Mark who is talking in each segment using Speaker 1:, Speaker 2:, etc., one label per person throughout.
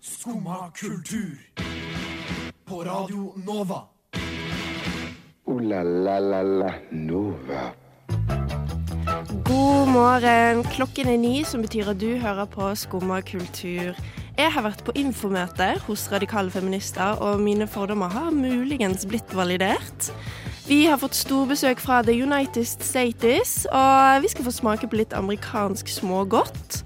Speaker 1: Skumma kultur. På Radio Nova.
Speaker 2: Ooh la la la la Nova.
Speaker 3: God morgen. Klokken er ni, som betyr at du hører på Skumma kultur. Jeg har vært på infomøte hos radikale feminister, og mine fordommer har muligens blitt validert. Vi har fått storbesøk fra The United States, og vi skal få smake på litt amerikansk smågodt.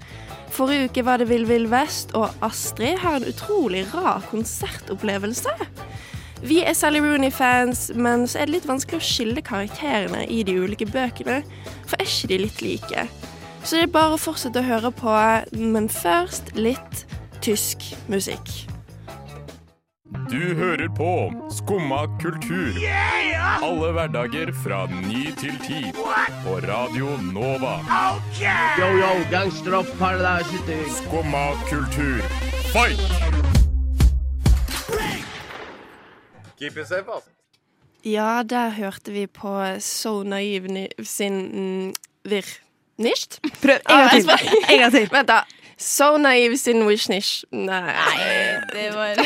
Speaker 3: Forrige uke var det Vill Vill Vest, og Astrid har en utrolig rar konsertopplevelse. Vi er Sally Rooney-fans, men så er det litt vanskelig å skille karakterene i de ulike bøkene, for er ikke de litt like? Så det er bare å fortsette å høre på, men først litt tysk musikk.
Speaker 4: Du hører på Skumma kultur. Alle hverdager fra ny til ti. På Radio Nova.
Speaker 5: Yo, yo, gangsterrock paradise city.
Speaker 4: Skumma kultur. Fight!
Speaker 6: Keep it safe, ass.
Speaker 3: Ja, der hørte vi på So Naiv ni sin mm, Virr Nicht? Prøv
Speaker 7: en gang til. En gang til.
Speaker 3: Vent, da. So Naiv sin Wish Nicht. Nei.
Speaker 7: Det var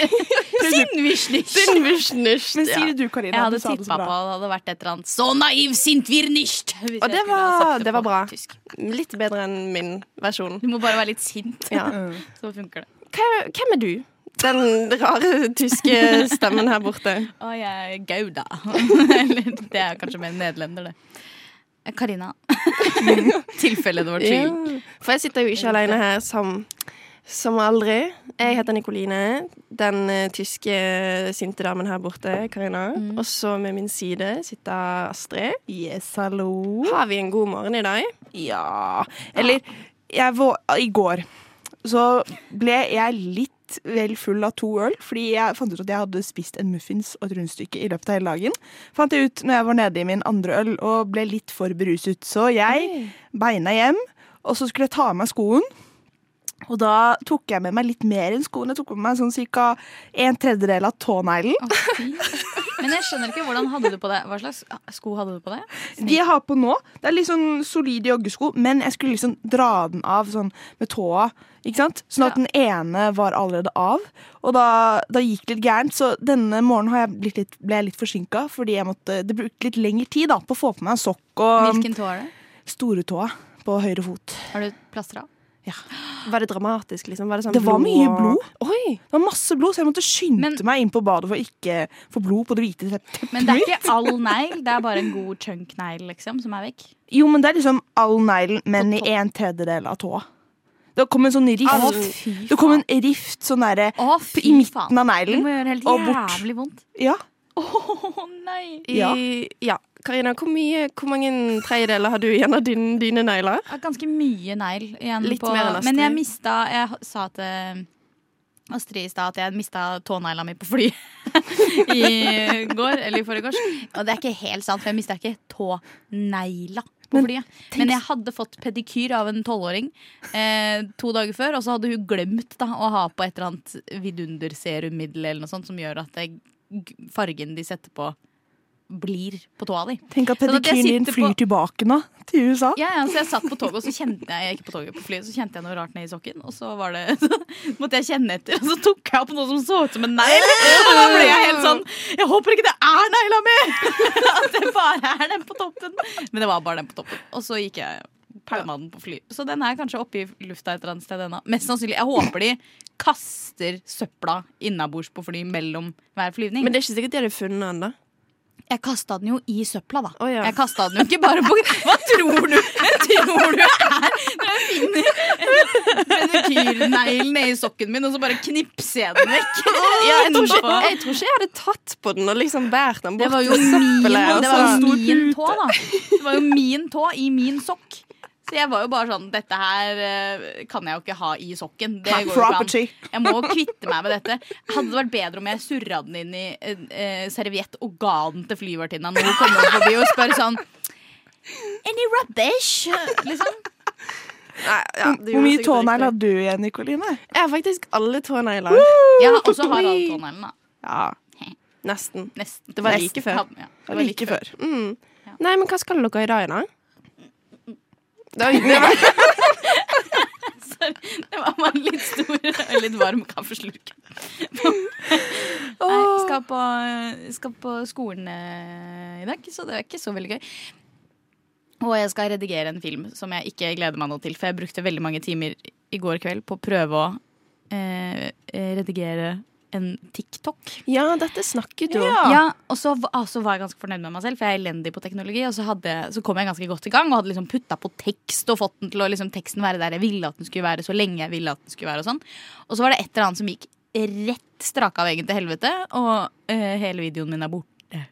Speaker 7: Sinnwischnisch.
Speaker 3: Sin Wish Nicht.
Speaker 8: Men
Speaker 3: ja.
Speaker 8: sier du, Karina.
Speaker 7: Jeg
Speaker 8: du
Speaker 7: hadde
Speaker 8: sa det
Speaker 7: tippa
Speaker 8: så
Speaker 7: på
Speaker 8: bra.
Speaker 7: at det hadde vært et eller annet Så naiv sint wir nicht! hvis
Speaker 3: Og
Speaker 7: jeg
Speaker 3: det
Speaker 7: skulle ha
Speaker 3: var,
Speaker 7: sagt
Speaker 3: det var
Speaker 7: på
Speaker 3: bra.
Speaker 7: tysk.
Speaker 3: Litt bedre enn min versjon.
Speaker 7: Du må bare være litt sint,
Speaker 3: Ja.
Speaker 7: så funker det.
Speaker 3: Hva- Hvem er du? Den rare tyske stemmen her borte.
Speaker 7: Å, jeg er gouda. Eller det er kanskje mer nederlender, det. Eh, Karina. Tilfelle det var tvil.
Speaker 3: Ja. For jeg sitter jo ikke alene her som, som aldri. Jeg heter Nikoline, den eh, tyske sinte damen her borte, Karina. Og så med min side sitter Astrid.
Speaker 8: Yes, hallo.
Speaker 3: Har vi en god morgen i dag?
Speaker 8: Ja Eller jeg vå- I går så ble jeg litt vel full av to øl, fordi jeg fant ut at jeg hadde spist en muffins og et rundstykke i løpet av hele dagen. Fant jeg ut når jeg var nede i min andre øl og ble litt for beruset. Så jeg beina hjem, og så skulle jeg ta av meg skoen. Og da tok jeg med meg litt mer enn skoen. Jeg tok med meg sånn ca. en tredjedel av tåneglen.
Speaker 7: Å, fy. Men jeg skjønner ikke hvordan hadde du på det. Hva slags sko hadde du på det?
Speaker 8: De jeg har på nå, det er litt sånn solide joggesko, men jeg skulle liksom dra den av sånn med tåa. Ikke sant? Sånn at den ene var allerede av. Og da, da gikk det litt gærent, så denne morgenen har jeg blitt litt, ble jeg litt forsinka. Fordi jeg måtte, det brukte litt lengre tid da, på å få på meg en sokk og
Speaker 7: Hvilken tå er det?
Speaker 8: storetåa på høyre fot.
Speaker 7: Har du plastra?
Speaker 3: Var det dramatisk? liksom? Var det, sånn
Speaker 8: Det var mye blod.
Speaker 3: Oi!
Speaker 8: Det var masse blod, så jeg måtte skynde
Speaker 7: Men-
Speaker 8: meg inn på badet for å ikke få blod på det hvite teppet.
Speaker 7: Men det er ikke all negl, det er bare en god chunk-negl liksom, som er vekk.
Speaker 8: Jo, men det er liksom all neglen, men i en tredjedel av tåa. Det kom en sånn
Speaker 7: Å,
Speaker 8: rift.
Speaker 7: fy
Speaker 8: Det kom en rift sånn derre
Speaker 7: Å, fy
Speaker 8: i midten
Speaker 7: faen.
Speaker 8: av
Speaker 7: Det må
Speaker 8: neglen.
Speaker 7: gjøre helt
Speaker 8: og bort.
Speaker 7: jævlig vondt.
Speaker 8: Ja.
Speaker 7: Å nei!
Speaker 3: I, ja.
Speaker 8: Ja.
Speaker 3: Karina, hvor, mye, hvor mange tredjedeler har du igjen av din, dine negler?
Speaker 7: Jeg har ganske mye negl igjen.
Speaker 3: Litt
Speaker 7: på,
Speaker 3: mer enn Astrid.
Speaker 7: men jeg mista Jeg h- sa til Astrid i stad at jeg mista tånegla mi på flyet i går. Eller i forgårs. Og det er ikke helt sant, for jeg mista ikke tånegla. På flyet. Men jeg hadde fått pedikyr av en tolvåring eh, to dager før. Og så hadde hun glemt da, å ha på et eller annet vidunderserummiddel eller noe sånt, som gjør at det, g- fargen de setter på, blir på tåa di.
Speaker 8: Tenk at
Speaker 7: Sånn at jeg
Speaker 8: pedikyren din
Speaker 7: sitter
Speaker 8: flyr
Speaker 7: på-
Speaker 8: tilbake nå, til USA.
Speaker 7: Ja, ja, så jeg satt på toget, og så kjente jeg, jeg gikk på toget på flyet, så kjente jeg noe rart nedi sokken. Og så, var det, så måtte jeg kjenne etter, og så tok jeg opp noe som så ut som en negl. Og da ble jeg helt sånn Jeg håper ikke det er negla mi! At det bare er den på toppen. Men det var bare den på toppen. Og så gikk jeg pælma den på fly. Så den er kanskje oppe i lufta et eller annet sted ennå. Mest sannsynlig. Jeg håper de kaster søpla innabords på fly mellom hver flyvning.
Speaker 3: Men det er ikke sikkert de hadde funnet den, da.
Speaker 7: Jeg kasta den jo i søpla, da.
Speaker 3: Å, ja.
Speaker 7: Jeg kasta den jo ikke bare på Hva tror du Jeg tror du er når jeg finner pedikyrneglen nedi sokken min, og så bare knipser jeg den vekk?
Speaker 3: Ja, jeg, tror ikke,
Speaker 7: Etterpå.
Speaker 3: jeg tror ikke jeg hadde tatt på den og liksom båret den
Speaker 7: Det
Speaker 3: bort
Speaker 7: var jo
Speaker 3: til
Speaker 7: min, det
Speaker 3: søppelet, og sånn.
Speaker 7: var
Speaker 3: så-
Speaker 7: jo min tå, da. Det var jo min tå i min sokk. Så jeg var jo bare sånn Dette her eh, kan jeg jo ikke ha i sokken. Det går jo ikke an.
Speaker 8: Property.
Speaker 7: Jeg må kvitte meg med dette. Hadde det vært bedre om jeg surra den inn i en eh, serviett og ga den til flyvertinna når hun kommer forbi og spør sånn Any rubbish? Liksom.
Speaker 3: Nei, ja, det
Speaker 8: Hvor
Speaker 3: gjorde
Speaker 8: mye
Speaker 3: sikkert
Speaker 8: tånegl
Speaker 3: riktig.
Speaker 8: hadde du igjen, Nikoline?
Speaker 3: Jeg har faktisk alle tånegler.
Speaker 7: Ja, og så har alle tåneglene, da.
Speaker 8: Ja,
Speaker 3: Nesten.
Speaker 7: Nesten.
Speaker 3: Det var like
Speaker 7: Nesten.
Speaker 3: før.
Speaker 7: Ja, det var like før.
Speaker 3: Nei, men hva skal dere i dag, da? Det var- det var-
Speaker 7: Det var bare en litt stor og litt varm kaffeslurk. på, skal på skolen eh, i dag, så det er ikke så veldig gøy. Og jeg skal redigere en film som jeg ikke gleder meg noe til, for jeg brukte veldig mange timer i går kveld på å prøve å eh, redigere en TikTok.
Speaker 3: Ja, dette snakket du om.
Speaker 7: Ja, og så v- altså, var jeg ganske fornøyd med meg selv, for jeg er elendig på teknologi. Og så, hadde, så kom jeg ganske godt i gang og hadde liksom putta på tekst og fått den til å liksom, teksten være der jeg ville at den skulle være, så lenge jeg ville at den skulle være. Og sånn Og så var det et eller annet som gikk rett straka av veggen til helvete, og eh, hele videoen min er borte.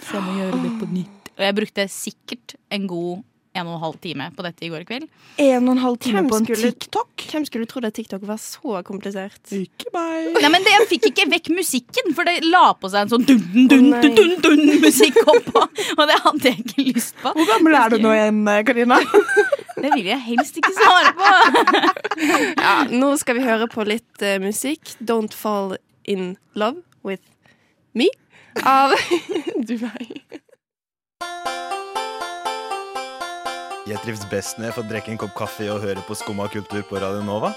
Speaker 7: Så jeg må gjøre det på nytt. Og jeg brukte sikkert en god en og en halv time på dette i går kveld.
Speaker 8: En og en halv time
Speaker 3: Hvem
Speaker 8: på en
Speaker 3: skulle-
Speaker 8: TikTok?
Speaker 3: Hvem skulle trodd at TikTok var så komplisert?
Speaker 8: Ikke meg.
Speaker 7: Nei, men det, Jeg fikk ikke vekk musikken, for det la på seg en sånn
Speaker 3: Å, nei.
Speaker 7: dun-dun-dun-dun-musikk oppå. Og det hadde jeg ikke lyst på.
Speaker 8: Hvor gammel er du nå igjen, Karina?
Speaker 7: Det vil jeg helst ikke svare på.
Speaker 3: Ja, nå skal vi høre på litt eh, musikk. Don't Fall In Love With Me av Dubai.
Speaker 9: Jeg trives best når jeg får drikke en kopp kaffe og høre på Skumma kultur på Radio Nova.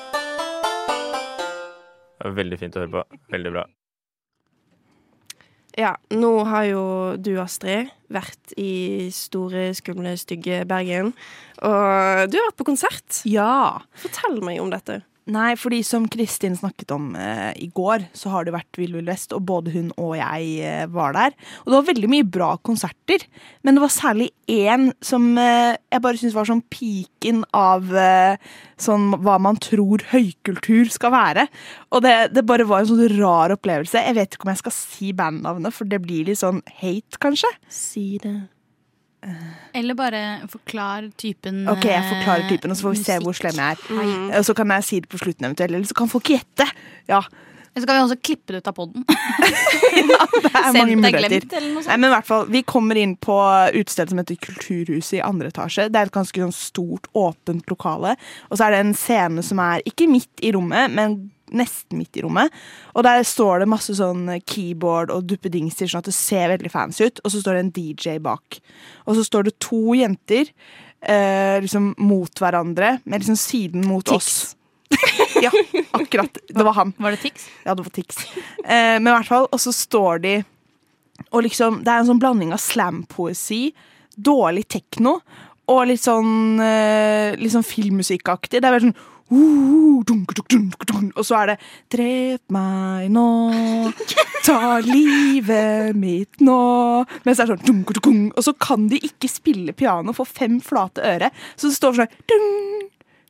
Speaker 10: Veldig fint å høre på. Veldig bra.
Speaker 3: Ja, nå har jo du, Astrid, vært i store, skumle, stygge Bergen. Og du har vært på konsert.
Speaker 8: Ja.
Speaker 3: Fortell meg om dette.
Speaker 8: Nei, fordi som Kristin snakket om eh, i går, så har det vært Vill Vill Vest, og både hun og jeg eh, var der. Og det var veldig mye bra konserter, men det var særlig én som eh, jeg bare syns var sånn piken av eh, sånn hva man tror høykultur skal være. Og det, det bare var en sånn rar opplevelse. Jeg vet ikke om jeg skal si bandnavnet, for det blir litt sånn hate, kanskje.
Speaker 3: Si det.
Speaker 7: Eller bare forklar typen. eh,
Speaker 8: Ok, jeg forklarer typen, og så får vi se hvor slem jeg er. Eh, Og så kan jeg si det på slutten eventuelt, eller så kan folk gjette. Ja,
Speaker 7: Så kan vi også klippe det ut av poden.
Speaker 8: det er mange muligheter.
Speaker 7: Eller noe
Speaker 8: Nei,
Speaker 7: sånt.
Speaker 8: men i hvert fall, Vi kommer inn på utstedet som heter Kulturhuset i andre etasje. Det er et ganske sånn stort, åpent lokale. Og så er det en scene som er ikke midt i rommet, men nesten midt i rommet. Og der står det masse sånn keyboard og duppedingser, sånn at det ser veldig fancy ut. Og så står det en DJ bak. Og så står det to jenter eh, liksom mot hverandre, med liksom siden mot oss. ja, akkurat. Det var han.
Speaker 7: Var det Tix?
Speaker 8: Ja, det var Tix. Eh, men i hvert fall, og så står de Og liksom, det er en sånn blanding av slampoesi, dårlig tekno og litt sånn, eh, litt sånn filmmusikkaktig. Det er veldig sånn «Uh, dunk, dunk, dunk, dunk», og så er det 'Drep meg nå, ta livet mitt nå' Mens det er sånn dunk, dunk, dunk, Og så kan de ikke spille piano for fem flate øre, så det står sånn dung,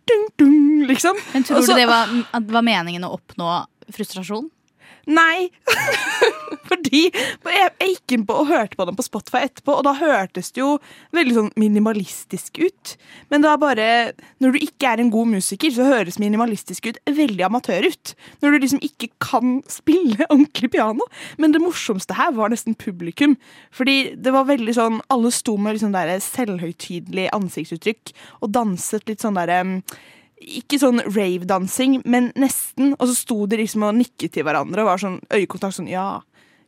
Speaker 8: dung, dung, liksom.
Speaker 7: Men
Speaker 8: Og
Speaker 7: tror
Speaker 8: så-
Speaker 7: du det var, at det var meningen å oppnå frustrasjon?
Speaker 8: Nei! Fordi jeg, jeg gikk inn på og hørte på dem på Spotify etterpå, og da hørtes det jo veldig sånn minimalistisk ut. Men det er bare Når du ikke er en god musiker, så høres minimalistisk ut veldig amatør ut. Når du liksom ikke kan spille ordentlig piano. Men det morsomste her var nesten publikum. Fordi det var veldig sånn Alle sto med liksom der selvhøytidelig ansiktsuttrykk og danset litt sånn derre ikke sånn rave-dansing, men nesten. Og så sto de liksom og nikket til hverandre og var sånn øyekontakt sånn ja.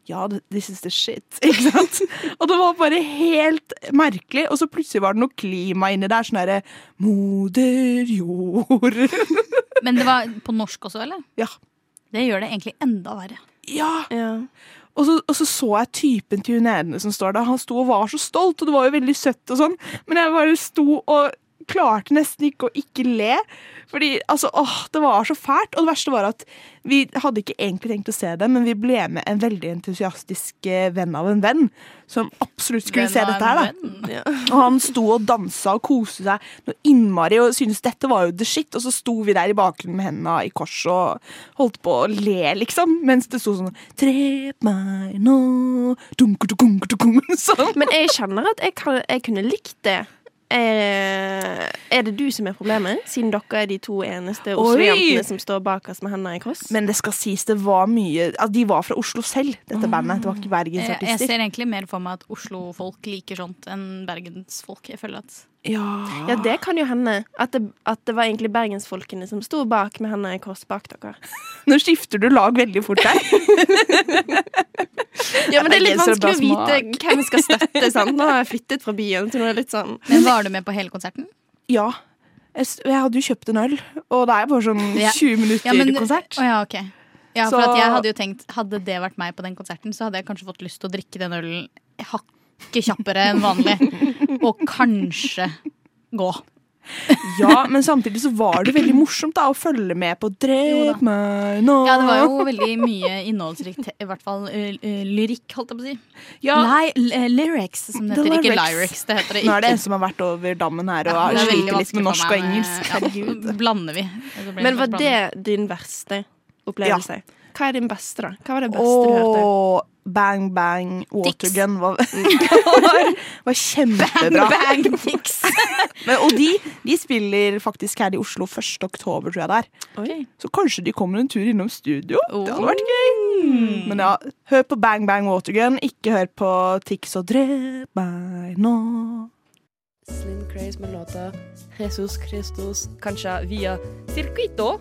Speaker 8: Ja, th- this is the shit. Ikke sant? og det var bare helt merkelig. Og så plutselig var det noe klima inni der. Sånn derre Moder jord.
Speaker 7: Men det var på norsk også, eller?
Speaker 8: ja.
Speaker 7: Det gjør det egentlig enda verre.
Speaker 8: ja.
Speaker 3: Ja.
Speaker 8: Og så, og så så jeg typen til hun ene som står der. Han sto og var så stolt, og det var jo veldig søtt og sånn, men jeg bare sto og klarte nesten ikke å ikke le. Fordi, altså, åh, det var så fælt. Og det verste var at vi hadde ikke egentlig tenkt å se det, men vi ble med en veldig entusiastisk eh, venn av en venn, som absolutt skulle
Speaker 7: Den
Speaker 8: se
Speaker 7: var
Speaker 8: dette her, da.
Speaker 7: venn.
Speaker 8: Og han sto og dansa og koste seg noe innmari og syntes dette var jo the shit. Og så sto vi der i bakgrunnen med hendene i kors og holdt på å le, liksom. Mens det sto sånn Drep meg nå dunk, dunk, dunk, dunk, sånn.
Speaker 3: Men jeg kjenner at jeg, kan, jeg kunne likt det. Eh, er det du som er problemet, siden dere er de to eneste Oslo-jentene som står bak oss med hendene i kors?
Speaker 8: Men det skal sies, det var mye altså, De var fra Oslo selv, dette bandet. Det var ikke
Speaker 7: Eh, Jeg, jeg
Speaker 8: bergensartister.
Speaker 7: ser egentlig mer for meg at Oslo-folk liker sånt enn bergensfolk. Jeg føler at
Speaker 8: Ja.
Speaker 3: Ja, det kan jo hende. At det, at det var egentlig bergensfolkene som sto bak med hendene i kors bak dere.
Speaker 8: Nå skifter du lag veldig fort her.
Speaker 3: Ja, men det er litt
Speaker 8: Bergensere
Speaker 3: vanskelig å
Speaker 8: bra
Speaker 3: vite hvem vi skal støtte. sant? Nå har jeg flyttet fra byen til noe litt sånn
Speaker 7: Men var du med på hele konserten?
Speaker 8: Ja. Jeg, s- jeg hadde jo kjøpt en øl, og det er bare sånn
Speaker 7: Ja.
Speaker 8: 20 minutter
Speaker 7: men,
Speaker 8: konsert.
Speaker 7: Å ja, ok. Ja, for
Speaker 8: Så-
Speaker 7: at jeg hadde jo tenkt Hadde det vært meg på den konserten, så hadde jeg kanskje fått lyst til å drikke den ølen hakket kjappere enn vanlig. Og kanskje gå.
Speaker 8: Ja, men samtidig så var det veldig morsomt da, å følge med på 'Drep meg nå'.
Speaker 7: Ja, det var jo veldig mye innholdsrikt, i hvert fall ø, ø, lyrikk, holdt jeg på å si. Li, l- ø, lyrics, som det
Speaker 8: The
Speaker 7: heter. Ikke
Speaker 8: lyrics.
Speaker 7: lyrics, det heter det
Speaker 8: Nå
Speaker 7: ikke.
Speaker 8: er det en som har vært over dammen her og
Speaker 7: Ja, det er veldig
Speaker 8: sliter litt
Speaker 7: vanskelig
Speaker 8: med
Speaker 7: for
Speaker 8: norsk og
Speaker 7: meg, men,
Speaker 8: engelsk.
Speaker 7: ja, nå blander vi. Så blir
Speaker 3: Men var
Speaker 7: litt
Speaker 3: det
Speaker 7: blanding.
Speaker 3: din verste opplevelse? Hva er din beste, da? Hva var det beste du hørte?
Speaker 8: Og Bang Bang Watergun var, var, var kjempebra.
Speaker 7: Bang, bang, dicks.
Speaker 8: Men, og de, de spiller faktisk her i Oslo 1. oktober, tror jeg det er.
Speaker 3: Oi.
Speaker 8: Så kanskje de kommer en tur innom studio. Det hadde vært gøy. Men ja, hør på Bang Bang Watergun, ikke hør på Tix og Drep meg nå.
Speaker 11: Slim Craze med låta Jesus Christus, kanskje via Circuito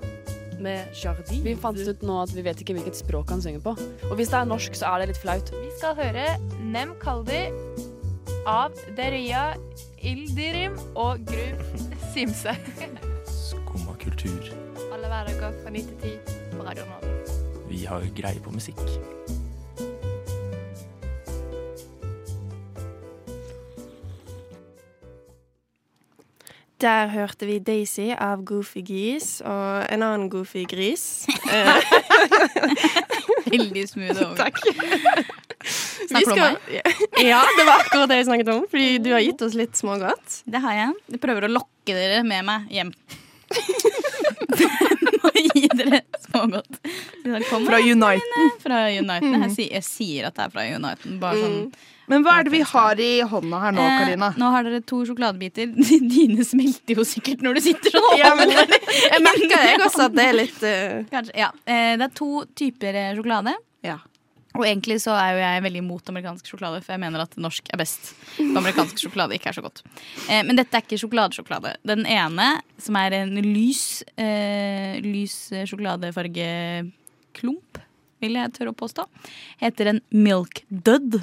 Speaker 11: med Jardin. Vi fant ut nå at vi vet ikke hvilket språk han synger på. Og hvis det er norsk, så er det litt flaut.
Speaker 12: Vi skal høre Nem Kaldi av Deria Ildirim og Grub Simse.
Speaker 13: Skumma kultur.
Speaker 12: Alle hverdager fra 9 til 10 på Radio Nova.
Speaker 13: Vi har jo greie på musikk.
Speaker 3: Der hørte vi Daisy av Goofy Geese og en annen Goofy Gris.
Speaker 7: Veldig smooth over.
Speaker 3: Takk.
Speaker 7: Snakker du om
Speaker 3: Ja, det var akkurat det jeg snakket om. Fordi du har gitt oss litt smågodt.
Speaker 7: Det har jeg. Jeg prøver å lokke dere med meg hjem. Må gi dere smågodt. Så da kommer
Speaker 8: Fra
Speaker 7: jeg til
Speaker 8: Uniten.
Speaker 7: denne Fra Uniten.
Speaker 8: Mm.
Speaker 7: Jeg, sier, jeg sier at det er fra Uniten. Bare sånn.
Speaker 8: Mm. Men hva er det vi har i hånda her nå,
Speaker 7: Eh,
Speaker 8: Karina?
Speaker 7: nå har dere to sjokoladebiter. Dine smelter jo sikkert når du sitter sånn. og
Speaker 3: Ja, men
Speaker 7: holder den
Speaker 3: jeg merker det, jeg også, at det er litt,
Speaker 7: inni hånden. Kanskje, ja. Eh, Det er to typer eh, sjokolade. Og egentlig så er jo jeg veldig imot amerikansk sjokolade, for jeg mener at norsk er best. Og amerikansk sjokolade ikke er så godt. Eh, men dette er ikke sjokoladesjokolade. Den ene, som er en lys, eh, lys eh, sjokoladefargeklump, vil jeg tørre å påstå, heter en milk dud.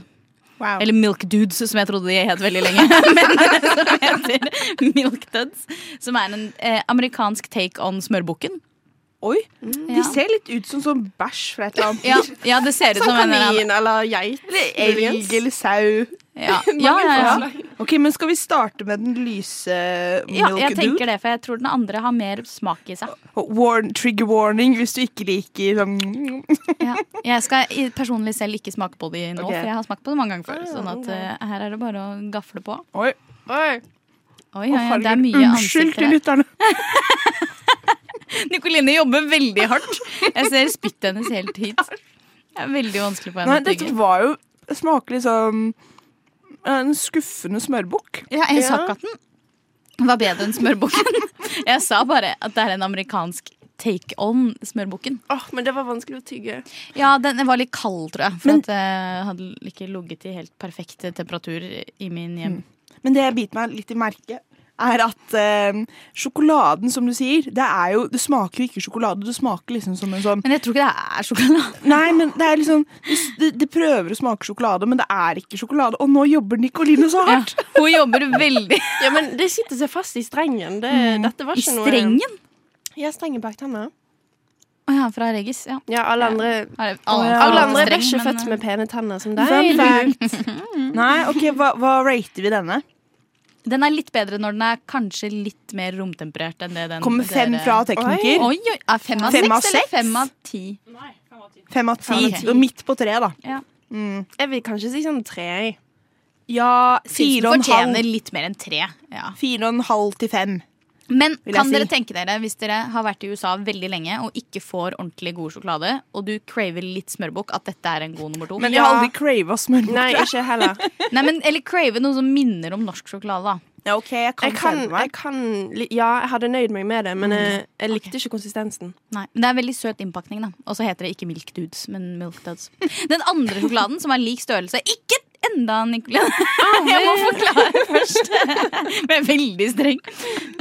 Speaker 7: Eller Milk Dudes, som jeg trodde de het veldig lenge. Men som heter Milk Duds. Som er en eh, amerikansk take on smørbukken.
Speaker 8: Oi,
Speaker 7: Ja.
Speaker 8: De ser litt ut som sånn bæsj fra et eller annet.
Speaker 7: Ja, ja, det ser ut
Speaker 8: Sånn
Speaker 7: som en eller
Speaker 8: kanin
Speaker 7: annen-
Speaker 3: eller geit.
Speaker 8: Eller elg eller sau.
Speaker 7: Ja. Ja, ja, ja.
Speaker 8: Ok, Men skal vi starte med den lyse
Speaker 7: Ja,
Speaker 8: Milk
Speaker 7: jeg tenker
Speaker 8: Dude?
Speaker 7: det, for jeg tror den andre har mer smak i seg.
Speaker 8: Og Warn, trigger warning hvis du ikke liker sånn
Speaker 7: Jeg skal i- personlig selv ikke smake på de nå,
Speaker 8: Ok.
Speaker 7: for jeg har smakt på det mange ganger før. Sånn at eh, her er det bare å gafle på.
Speaker 8: Oi.
Speaker 3: Oi.
Speaker 7: Oi,
Speaker 8: Å,
Speaker 7: oi, det er
Speaker 8: herregud,
Speaker 7: mye
Speaker 8: Unnskyld til
Speaker 7: ansikter her.
Speaker 8: lytterne.
Speaker 7: Nikoline jobber veldig hardt. Jeg ser spyttet hennes helt hit. Det er veldig vanskelig for henne
Speaker 8: Nei,
Speaker 7: å
Speaker 8: dette
Speaker 7: tygge.
Speaker 8: var jo smakelig som eh, en skuffende smørbukk.
Speaker 7: Ja, jeg sa ikke at den var bedre enn smørbukken. Jeg sa bare at det er en amerikansk take on smørbukken.
Speaker 3: men det var vanskelig å tygge.
Speaker 7: Ja, den var litt kald, tror jeg. For at jeg hadde ikke ligget i helt perfekt temperatur i min hjem.
Speaker 8: Men det jeg biter meg litt i merket, er at eh, sjokoladen, som du sier, det, er jo, det smaker jo ikke sjokolade. Det smaker liksom som en sånn
Speaker 7: Men jeg tror ikke det er sjokolade.
Speaker 8: Nei, men det er liksom Det, det, det prøver å smake sjokolade, men det er ikke sjokolade. Og nå jobber Nicoline så hardt!
Speaker 7: Hun jobber veldig.
Speaker 3: Ja, men det sitter seg fast i strengen. Det, Dette var
Speaker 7: I
Speaker 3: ikke noe
Speaker 7: strengen?
Speaker 3: Ja, strengen bak tenna.
Speaker 7: Å ja, fra Regis. Ja.
Speaker 3: Ja, alle andre
Speaker 7: Alle,
Speaker 3: Alle andre ble ikke
Speaker 7: eh,
Speaker 3: født med pene tenner som deg.
Speaker 8: Fun
Speaker 3: du.
Speaker 8: fact. Nei, OK, hva, hva rater vi denne?
Speaker 7: Den er litt bedre når den er kanskje litt mer romtemperert enn det den
Speaker 8: Kommer fem
Speaker 7: dere-
Speaker 8: fra tekniker.
Speaker 7: Oi, oi, er fem av
Speaker 8: Fem av
Speaker 7: seks eller
Speaker 8: seks?
Speaker 7: fem av ti?
Speaker 8: Fem av ti.
Speaker 7: Fem av ti.
Speaker 8: Og midt på tre, da.
Speaker 7: Ja.
Speaker 3: Jeg vil kanskje si sånn tre. jeg.
Speaker 8: Ja, fire og en halv.
Speaker 7: Fortjener litt mer enn tre. Ja.
Speaker 8: Fire og en halv til fem.
Speaker 7: Men
Speaker 8: vil jeg
Speaker 7: kan
Speaker 8: si.
Speaker 7: dere tenke dere, hvis dere har vært i USA veldig lenge og ikke får ordentlig god sjokolade, og du craver litt smørbukk, at dette er en god nummer to?
Speaker 8: Men jeg har aldri crava smørbrød.
Speaker 3: Nei, ikke heller.
Speaker 7: Nei, men, eller crave noe som minner om norsk sjokolade, da.
Speaker 8: Ja, ok, jeg
Speaker 3: Jeg kan, jeg kan li- Ja, jeg hadde nøyd meg med det, men jeg, jeg likte ikke konsistensen.
Speaker 7: Nei, men Det er veldig søt innpakning, da. Og så heter det ikke Milk Dudes, men Milk Duds. Den andre sjokoladen som er lik størrelse Ikke enda, Nicolene! Jeg må forklare først. Men jeg er veldig streng.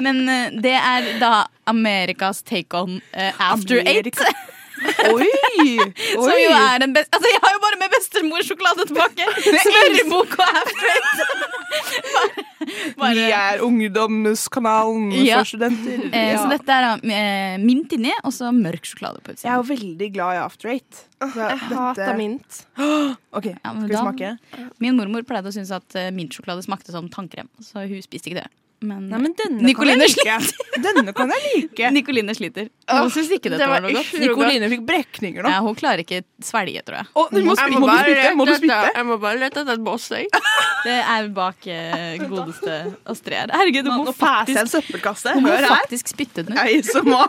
Speaker 7: Men eh, det er da Amerikas take on eh, After
Speaker 8: Amerika-
Speaker 7: Eight.
Speaker 8: Oi!
Speaker 7: Som jo er den beste Altså, jeg har jo bare med bestemors sjokolade tilbake! Smørbok og afterrate! Bare-
Speaker 8: Vi er ungdomskanalen
Speaker 7: Ja.
Speaker 8: for studenter.
Speaker 7: Eh, Så
Speaker 8: Ja.
Speaker 7: dette er da, eh, mint inni, og så mørk sjokolade på utsiden.
Speaker 8: Jeg er jo veldig glad i after eight.
Speaker 7: jeg hater mint.
Speaker 8: OK, skal vi smake?
Speaker 7: Min mormor pleide å synes at eh, mintsjokolade smakte som tannkrem, så hun spiste ikke det. Men,
Speaker 8: Nei, men denne
Speaker 7: Nicoline
Speaker 8: kan jeg like. denne kan jeg like.
Speaker 7: Nicoline sliter. Hun synes ikke dette var, noe godt.
Speaker 8: Nicoline fikk brekninger nå.
Speaker 7: Ja, hun klarer ikke svelge, tror jeg.
Speaker 8: Å, du må spy- må du spytte? Må du spytte?
Speaker 3: Jeg må bare lete etter et bossøy.
Speaker 7: Det er bak eh, godeste Astrid her. Herregud, du
Speaker 8: Nå-
Speaker 7: må
Speaker 8: nå passer jeg en
Speaker 7: faktisk
Speaker 8: søppelkasse.
Speaker 7: Du må
Speaker 8: Hør her.
Speaker 7: faktisk spytte den ut.
Speaker 8: Jeg som må.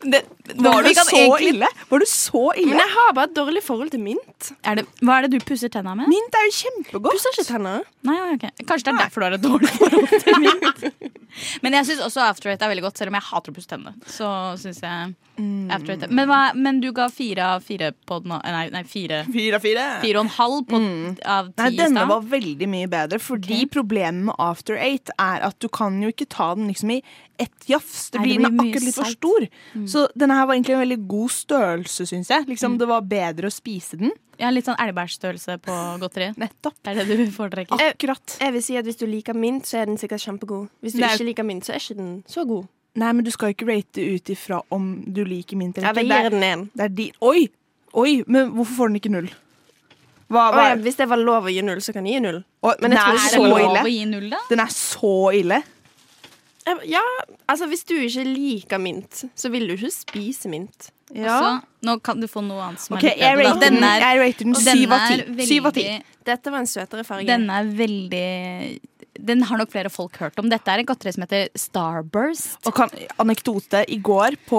Speaker 7: Det,
Speaker 8: Var
Speaker 7: vi
Speaker 8: du
Speaker 7: kan
Speaker 8: så
Speaker 7: egentlig-
Speaker 8: ille? Var du så ille?
Speaker 3: Men jeg har bare et dårlig forhold til mint.
Speaker 7: Er det, hva er det du pusser tenna med?
Speaker 8: Mint er jo kjempegodt.
Speaker 3: Pusser ikke tenna.
Speaker 7: Nei, ok. Kanskje det er derfor du har et dårlig forhold til mint. Men jeg syns også After Eight er veldig godt, selv om jeg hater å pusse tennene. Så synes jeg
Speaker 3: Mm.
Speaker 7: After Eight er- men, hva, men du ga fire av fire på den eh, Nei, nei fire.
Speaker 8: Fire av fire.
Speaker 7: Fire og en halv på,
Speaker 3: Mm.
Speaker 7: av ti
Speaker 8: Nei,
Speaker 7: i
Speaker 8: denne
Speaker 7: stad.
Speaker 8: var veldig mye bedre, fordi problemet med After Eight er at du kan jo ikke ta den liksom i ett jafs. Det
Speaker 7: Nei, det
Speaker 8: blir, den er
Speaker 7: blir mye
Speaker 8: akkurat litt for
Speaker 7: salt.
Speaker 8: stor.
Speaker 3: Mm.
Speaker 8: Så denne her var egentlig en veldig god størrelse, syns jeg. Liksom, Det var bedre å spise den.
Speaker 7: Ja, litt sånn elgbærstørrelse på godteri.
Speaker 8: Nettopp.
Speaker 7: Det er det du foretrekker.
Speaker 8: Akkurat.
Speaker 3: Jeg vil si at Hvis du liker mint, så er den sikkert kjempegod. Hvis du
Speaker 8: Nei.
Speaker 3: ikke liker mint, så er ikke den så god.
Speaker 8: Nei, men du skal jo ikke rate ut ifra om du liker mint
Speaker 3: Ja,
Speaker 8: eller
Speaker 3: vi gir
Speaker 8: ikke. Det er-
Speaker 3: den en.
Speaker 8: Det er de Oi! Oi, men hvorfor får den ikke null? Hva,
Speaker 3: Å,
Speaker 8: hva
Speaker 3: ja, hvis det var lov å gi null, så kan jeg gi null.
Speaker 8: Å,
Speaker 3: Men jeg tror
Speaker 8: den er
Speaker 3: ikke
Speaker 8: så
Speaker 3: det er lov
Speaker 8: ille.
Speaker 3: å gi
Speaker 7: null, da?
Speaker 8: Den er så ille.
Speaker 3: Jeg- Ja, altså Hvis du ikke liker mint, så vil du ikke spise mint.
Speaker 7: Altså, nå kan du få noe annet som
Speaker 3: Ok,
Speaker 7: er litt
Speaker 3: jeg
Speaker 7: bedre. da.
Speaker 3: rater den-
Speaker 7: Denne er-
Speaker 3: jeg rater den
Speaker 7: og
Speaker 3: syv
Speaker 7: denne
Speaker 3: av ti.
Speaker 7: er
Speaker 3: Syv av ti.
Speaker 7: veldig-
Speaker 3: Dette var en søtere farge.
Speaker 7: Denne er veldig Den har nok flere folk hørt om. Dette er et godteri som heter Starburst.
Speaker 8: Og kan, anekdote. I går på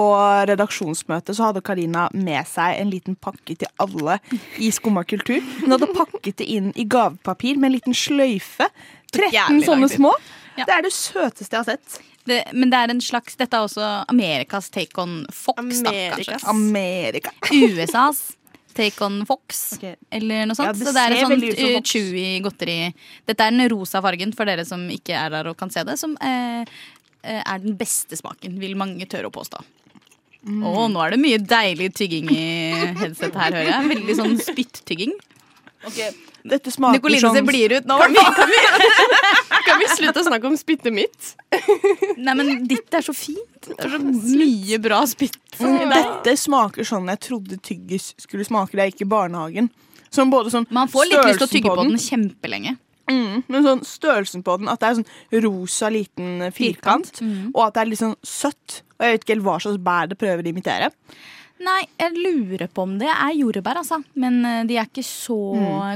Speaker 8: redaksjonsmøtet så hadde Karina med seg en liten pakke til alle i Skumma kultur. Hun hadde pakket det inn i gavepapir med en liten sløyfe. 13
Speaker 7: Jævlig
Speaker 8: sånne
Speaker 7: lang tid.
Speaker 8: små.
Speaker 7: Ja.
Speaker 8: Det er det søteste jeg har sett.
Speaker 7: Det, men det er en slags Dette er også Amerikas take on Fox, da, kanskje.
Speaker 8: Amerikas. Amerika.
Speaker 7: USAs Take on Fox, eller noe sånt.
Speaker 8: Ja, det
Speaker 7: så det er
Speaker 8: ser
Speaker 7: et sånt
Speaker 8: veldig ut som
Speaker 7: eh,
Speaker 8: Fox.
Speaker 7: chewy godteri. Dette er den rosa fargen, for dere som ikke er der og kan se det, som eh, eh, er den beste smaken, vil mange tørre å påstå.
Speaker 8: Mm.
Speaker 7: Å, nå er det mye deilig tygging i headsetet her, hører jeg. Veldig sånn spyttygging.
Speaker 8: Dette smaker sånn
Speaker 7: Nicoline
Speaker 8: som
Speaker 7: ser blid ut nå.
Speaker 3: Kan vi, kan, vi, kan vi slutte å snakke om spyttet mitt?
Speaker 7: Nei, men ditt er så fint. Det er så mye bra spytt.
Speaker 8: Mm. Dette smaker sånn jeg trodde tyggis skulle smake da jeg gikk i barnehagen. Sånn både sånn
Speaker 7: Man får litt lyst til å tygge på den kjempelenge.
Speaker 8: Mm, men sånn størrelsen på den, at det er sånn rosa liten eh, firkant,
Speaker 7: mm.
Speaker 8: og at det er litt sånn søtt. Og jeg vet ikke helt hva slags bær det prøver å imitere.
Speaker 7: Nei, jeg lurer på om det er jordbær, altså. Men eh, de er ikke så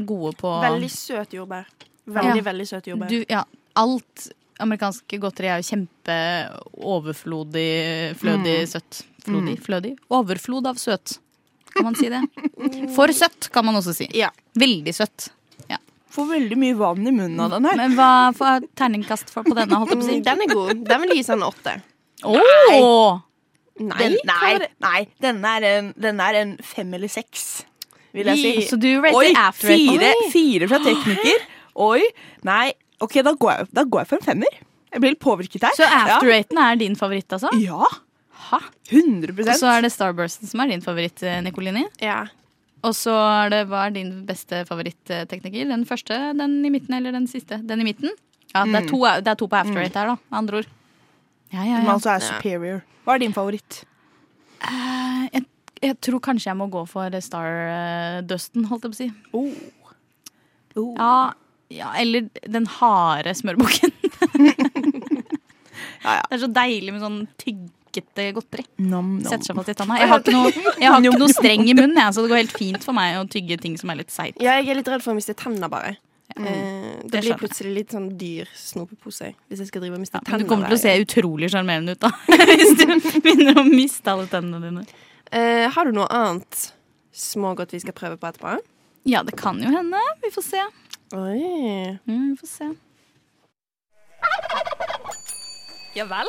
Speaker 7: gode på
Speaker 3: Veldig søt jordbær. Veldig,
Speaker 7: Ja.
Speaker 3: veldig søt jordbær.
Speaker 7: Du, ja, alt amerikansk godteri er jo kjempeoverflodig, flødig,
Speaker 3: Mm.
Speaker 7: søtt. Flodig, flødig. Overflod av søt, kan man si det. For søtt, kan man også si. Veldig søtt. Ja.
Speaker 8: Får veldig mye vann i munnen av den her.
Speaker 7: Men hva får jeg terningkast for på denne, holdt jeg på å si?
Speaker 3: Mm, Den er god. Den vil gi sånn åtte.
Speaker 7: Åh!
Speaker 3: Nei.
Speaker 8: Den, nei,
Speaker 3: hva var det?
Speaker 8: nei denne, er en, denne er en fem eller seks, vil jeg si.
Speaker 7: Vi- Så du rater
Speaker 8: Oi,
Speaker 7: after eight?
Speaker 8: fire,
Speaker 7: Oi.
Speaker 8: fire fra tekniker. Oi. Nei, OK, da går, jeg, da går jeg for en femmer. Jeg blir litt påvirket her.
Speaker 7: Så after
Speaker 8: ja.
Speaker 7: eighten er din favoritt, altså?
Speaker 8: Ja. 100
Speaker 7: Og så er det Starbursten som er din favoritt, eh, Nicolini. Og så er det hva er din beste favorittekniker? Den første, den i midten eller den siste? Den i midten? Ja, det er
Speaker 8: Mm.
Speaker 7: to, det er to på after eight her, da, med andre ord. Ja, ja,
Speaker 8: Men
Speaker 7: ja.
Speaker 8: altså er
Speaker 7: Ja.
Speaker 8: superior. Hva er din favoritt?
Speaker 7: Eh, Jeg, jeg tror kanskje jeg må gå for eh, Star-dusten, holdt jeg på å si.
Speaker 8: Oh.
Speaker 7: Ja, ja, eller den harde smørbukken. Det er så deilig med sånn tyggete godteri.
Speaker 8: Nom, nom.
Speaker 7: Setter seg fast i tanna. Jeg har ikke noe, jeg har ikke noe streng i munnen, jeg, så det går helt fint for meg å tygge ting som er litt seigt.
Speaker 3: Ja, jeg er litt redd for å miste tenner, bare. Eh,
Speaker 7: Mm.
Speaker 3: det blir
Speaker 7: Det skjønner jeg.
Speaker 3: plutselig litt sånn dyr snopepose hvis jeg skal drive og miste
Speaker 7: Men
Speaker 3: tenner.
Speaker 7: du kommer til å se
Speaker 3: hver gang.
Speaker 7: utrolig sjarmerende ut da hvis du begynner å miste alle tennene dine.
Speaker 3: Eh, har du noe annet smågodt vi skal prøve på etterpå?
Speaker 7: Ja, det kan jo hende. Vi får se.
Speaker 3: Oi.
Speaker 7: Mm, vi får se.
Speaker 12: Ja vel?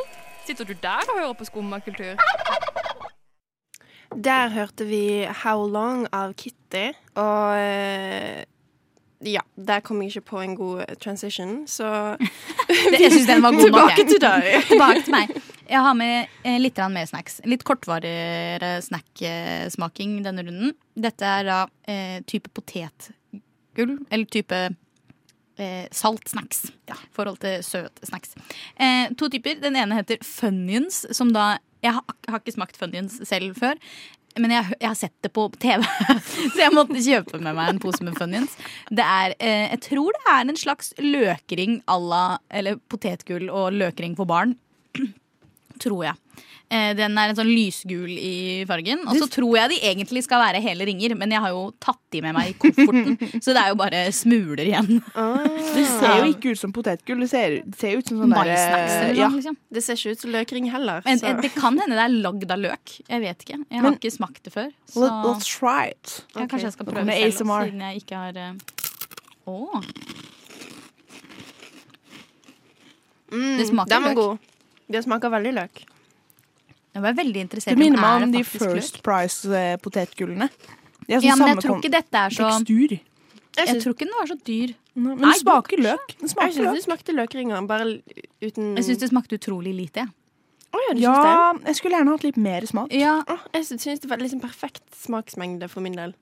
Speaker 12: Sitter du der og hører på skummakultur?
Speaker 3: Der hørte vi How Long av Kitty, og eh, ja, der kom jeg ikke på en god transition, så
Speaker 7: Jeg syns den var god nok.
Speaker 3: Tilbake
Speaker 7: jeg.
Speaker 3: til deg.
Speaker 7: Tilbake til meg. Jeg har med eh, litt grann mer snacks. Litt kortvarigere snacksmaking denne runden. Dette er da eh, type potetgull gull, eller type eh, salt snacks. I forhold til søt snacks. Eh, to typer. Den ene heter Funyuns, som da Jeg har, ak- har ikke smakt Funyuns selv før. Men jeg, har hø- jeg har sett det på TV, så jeg måtte kjøpe med meg en pose med Funyuns. Det er, eh, jeg tror det er en slags løkring à la Eller potetgull og løkring for barn. Tror jeg. Eh, Den er en sånn lysgul i fargen. Og så tror jeg de egentlig skal være hele ringer, men jeg har jo tatt de med meg i kofferten. så det er jo bare smuler igjen.
Speaker 8: Det ser jo ikke ut som potetgull. Det ser, det ser ut som sånn der
Speaker 7: Maisnacks eller noe
Speaker 8: ja.
Speaker 7: sånt, liksom.
Speaker 3: Det ser ikke ut som løkring heller.
Speaker 7: Men eh,
Speaker 3: så-
Speaker 7: Det kan hende det er lagd av løk. Jeg vet ikke. Jeg har
Speaker 3: Men-
Speaker 7: ikke smakt det før. Så
Speaker 8: Let, Let's try it.
Speaker 7: ja, kanskje jeg skal
Speaker 8: Nå
Speaker 7: prøve
Speaker 8: kommer
Speaker 7: selv,
Speaker 8: ASMR.
Speaker 7: siden jeg ikke har eh, Å.
Speaker 3: Mm,
Speaker 7: Det smaker
Speaker 3: den var
Speaker 7: løk.
Speaker 3: god. Det smaker veldig løk.
Speaker 7: Jeg var veldig interessert
Speaker 8: Det minner meg
Speaker 7: er
Speaker 8: om de
Speaker 7: det faktisk løk?
Speaker 8: First eh, altså, Price-potetgullene.
Speaker 7: Ja, men jeg tror ikke dette er så
Speaker 8: sånn Tekstur.
Speaker 7: Jeg, tror ikke den var så dyr.
Speaker 8: men den smaker løk. Den
Speaker 3: Jeg
Speaker 8: smaker
Speaker 3: syns det
Speaker 8: løk.
Speaker 3: smakte løkringer, bare l- uten
Speaker 7: Jeg
Speaker 8: Mm.
Speaker 7: syns det smakte utrolig lite. jeg.
Speaker 3: ja, du syns
Speaker 8: Ja, jeg skulle gjerne hatt litt mer smak.
Speaker 3: Åh, Jeg syns syns det var liksom perfekt smaksmengde for min del.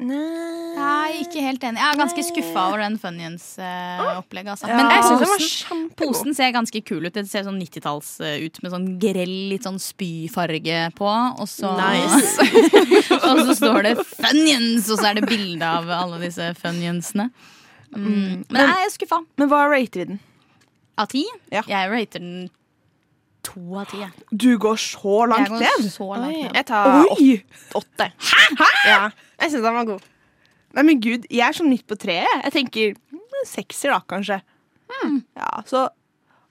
Speaker 7: Nei, ikke helt enig. Jeg er ganske skuffa over den Funyuns-opplegget. altså.
Speaker 3: Ja.
Speaker 7: Men
Speaker 3: Jeg synes den var
Speaker 7: posen, posen ser ganske kul ut. Det ser sånn 90-talls eh, ut med sånn grell, litt sånn spyfarge på. Og så, og så står det Funyuns, og så er det bilde av alle disse Funyunsene. Mm. Men, jeg er skuffa.
Speaker 8: Men hva rater vi den?
Speaker 7: Av ti? Jeg rater den to av ti. jeg.
Speaker 8: Du går så langt
Speaker 7: Jeg går
Speaker 8: ned.
Speaker 7: så langt ned.
Speaker 3: Jeg tar
Speaker 8: Oi!
Speaker 3: åtte.
Speaker 8: Hæ?
Speaker 3: Ja, jeg syns den var god.
Speaker 8: Nei, men gud, jeg er sånn midt på treet. jeg. Jeg tenker mm, sekser, da, kanskje.
Speaker 7: Hmm.
Speaker 8: Ja, så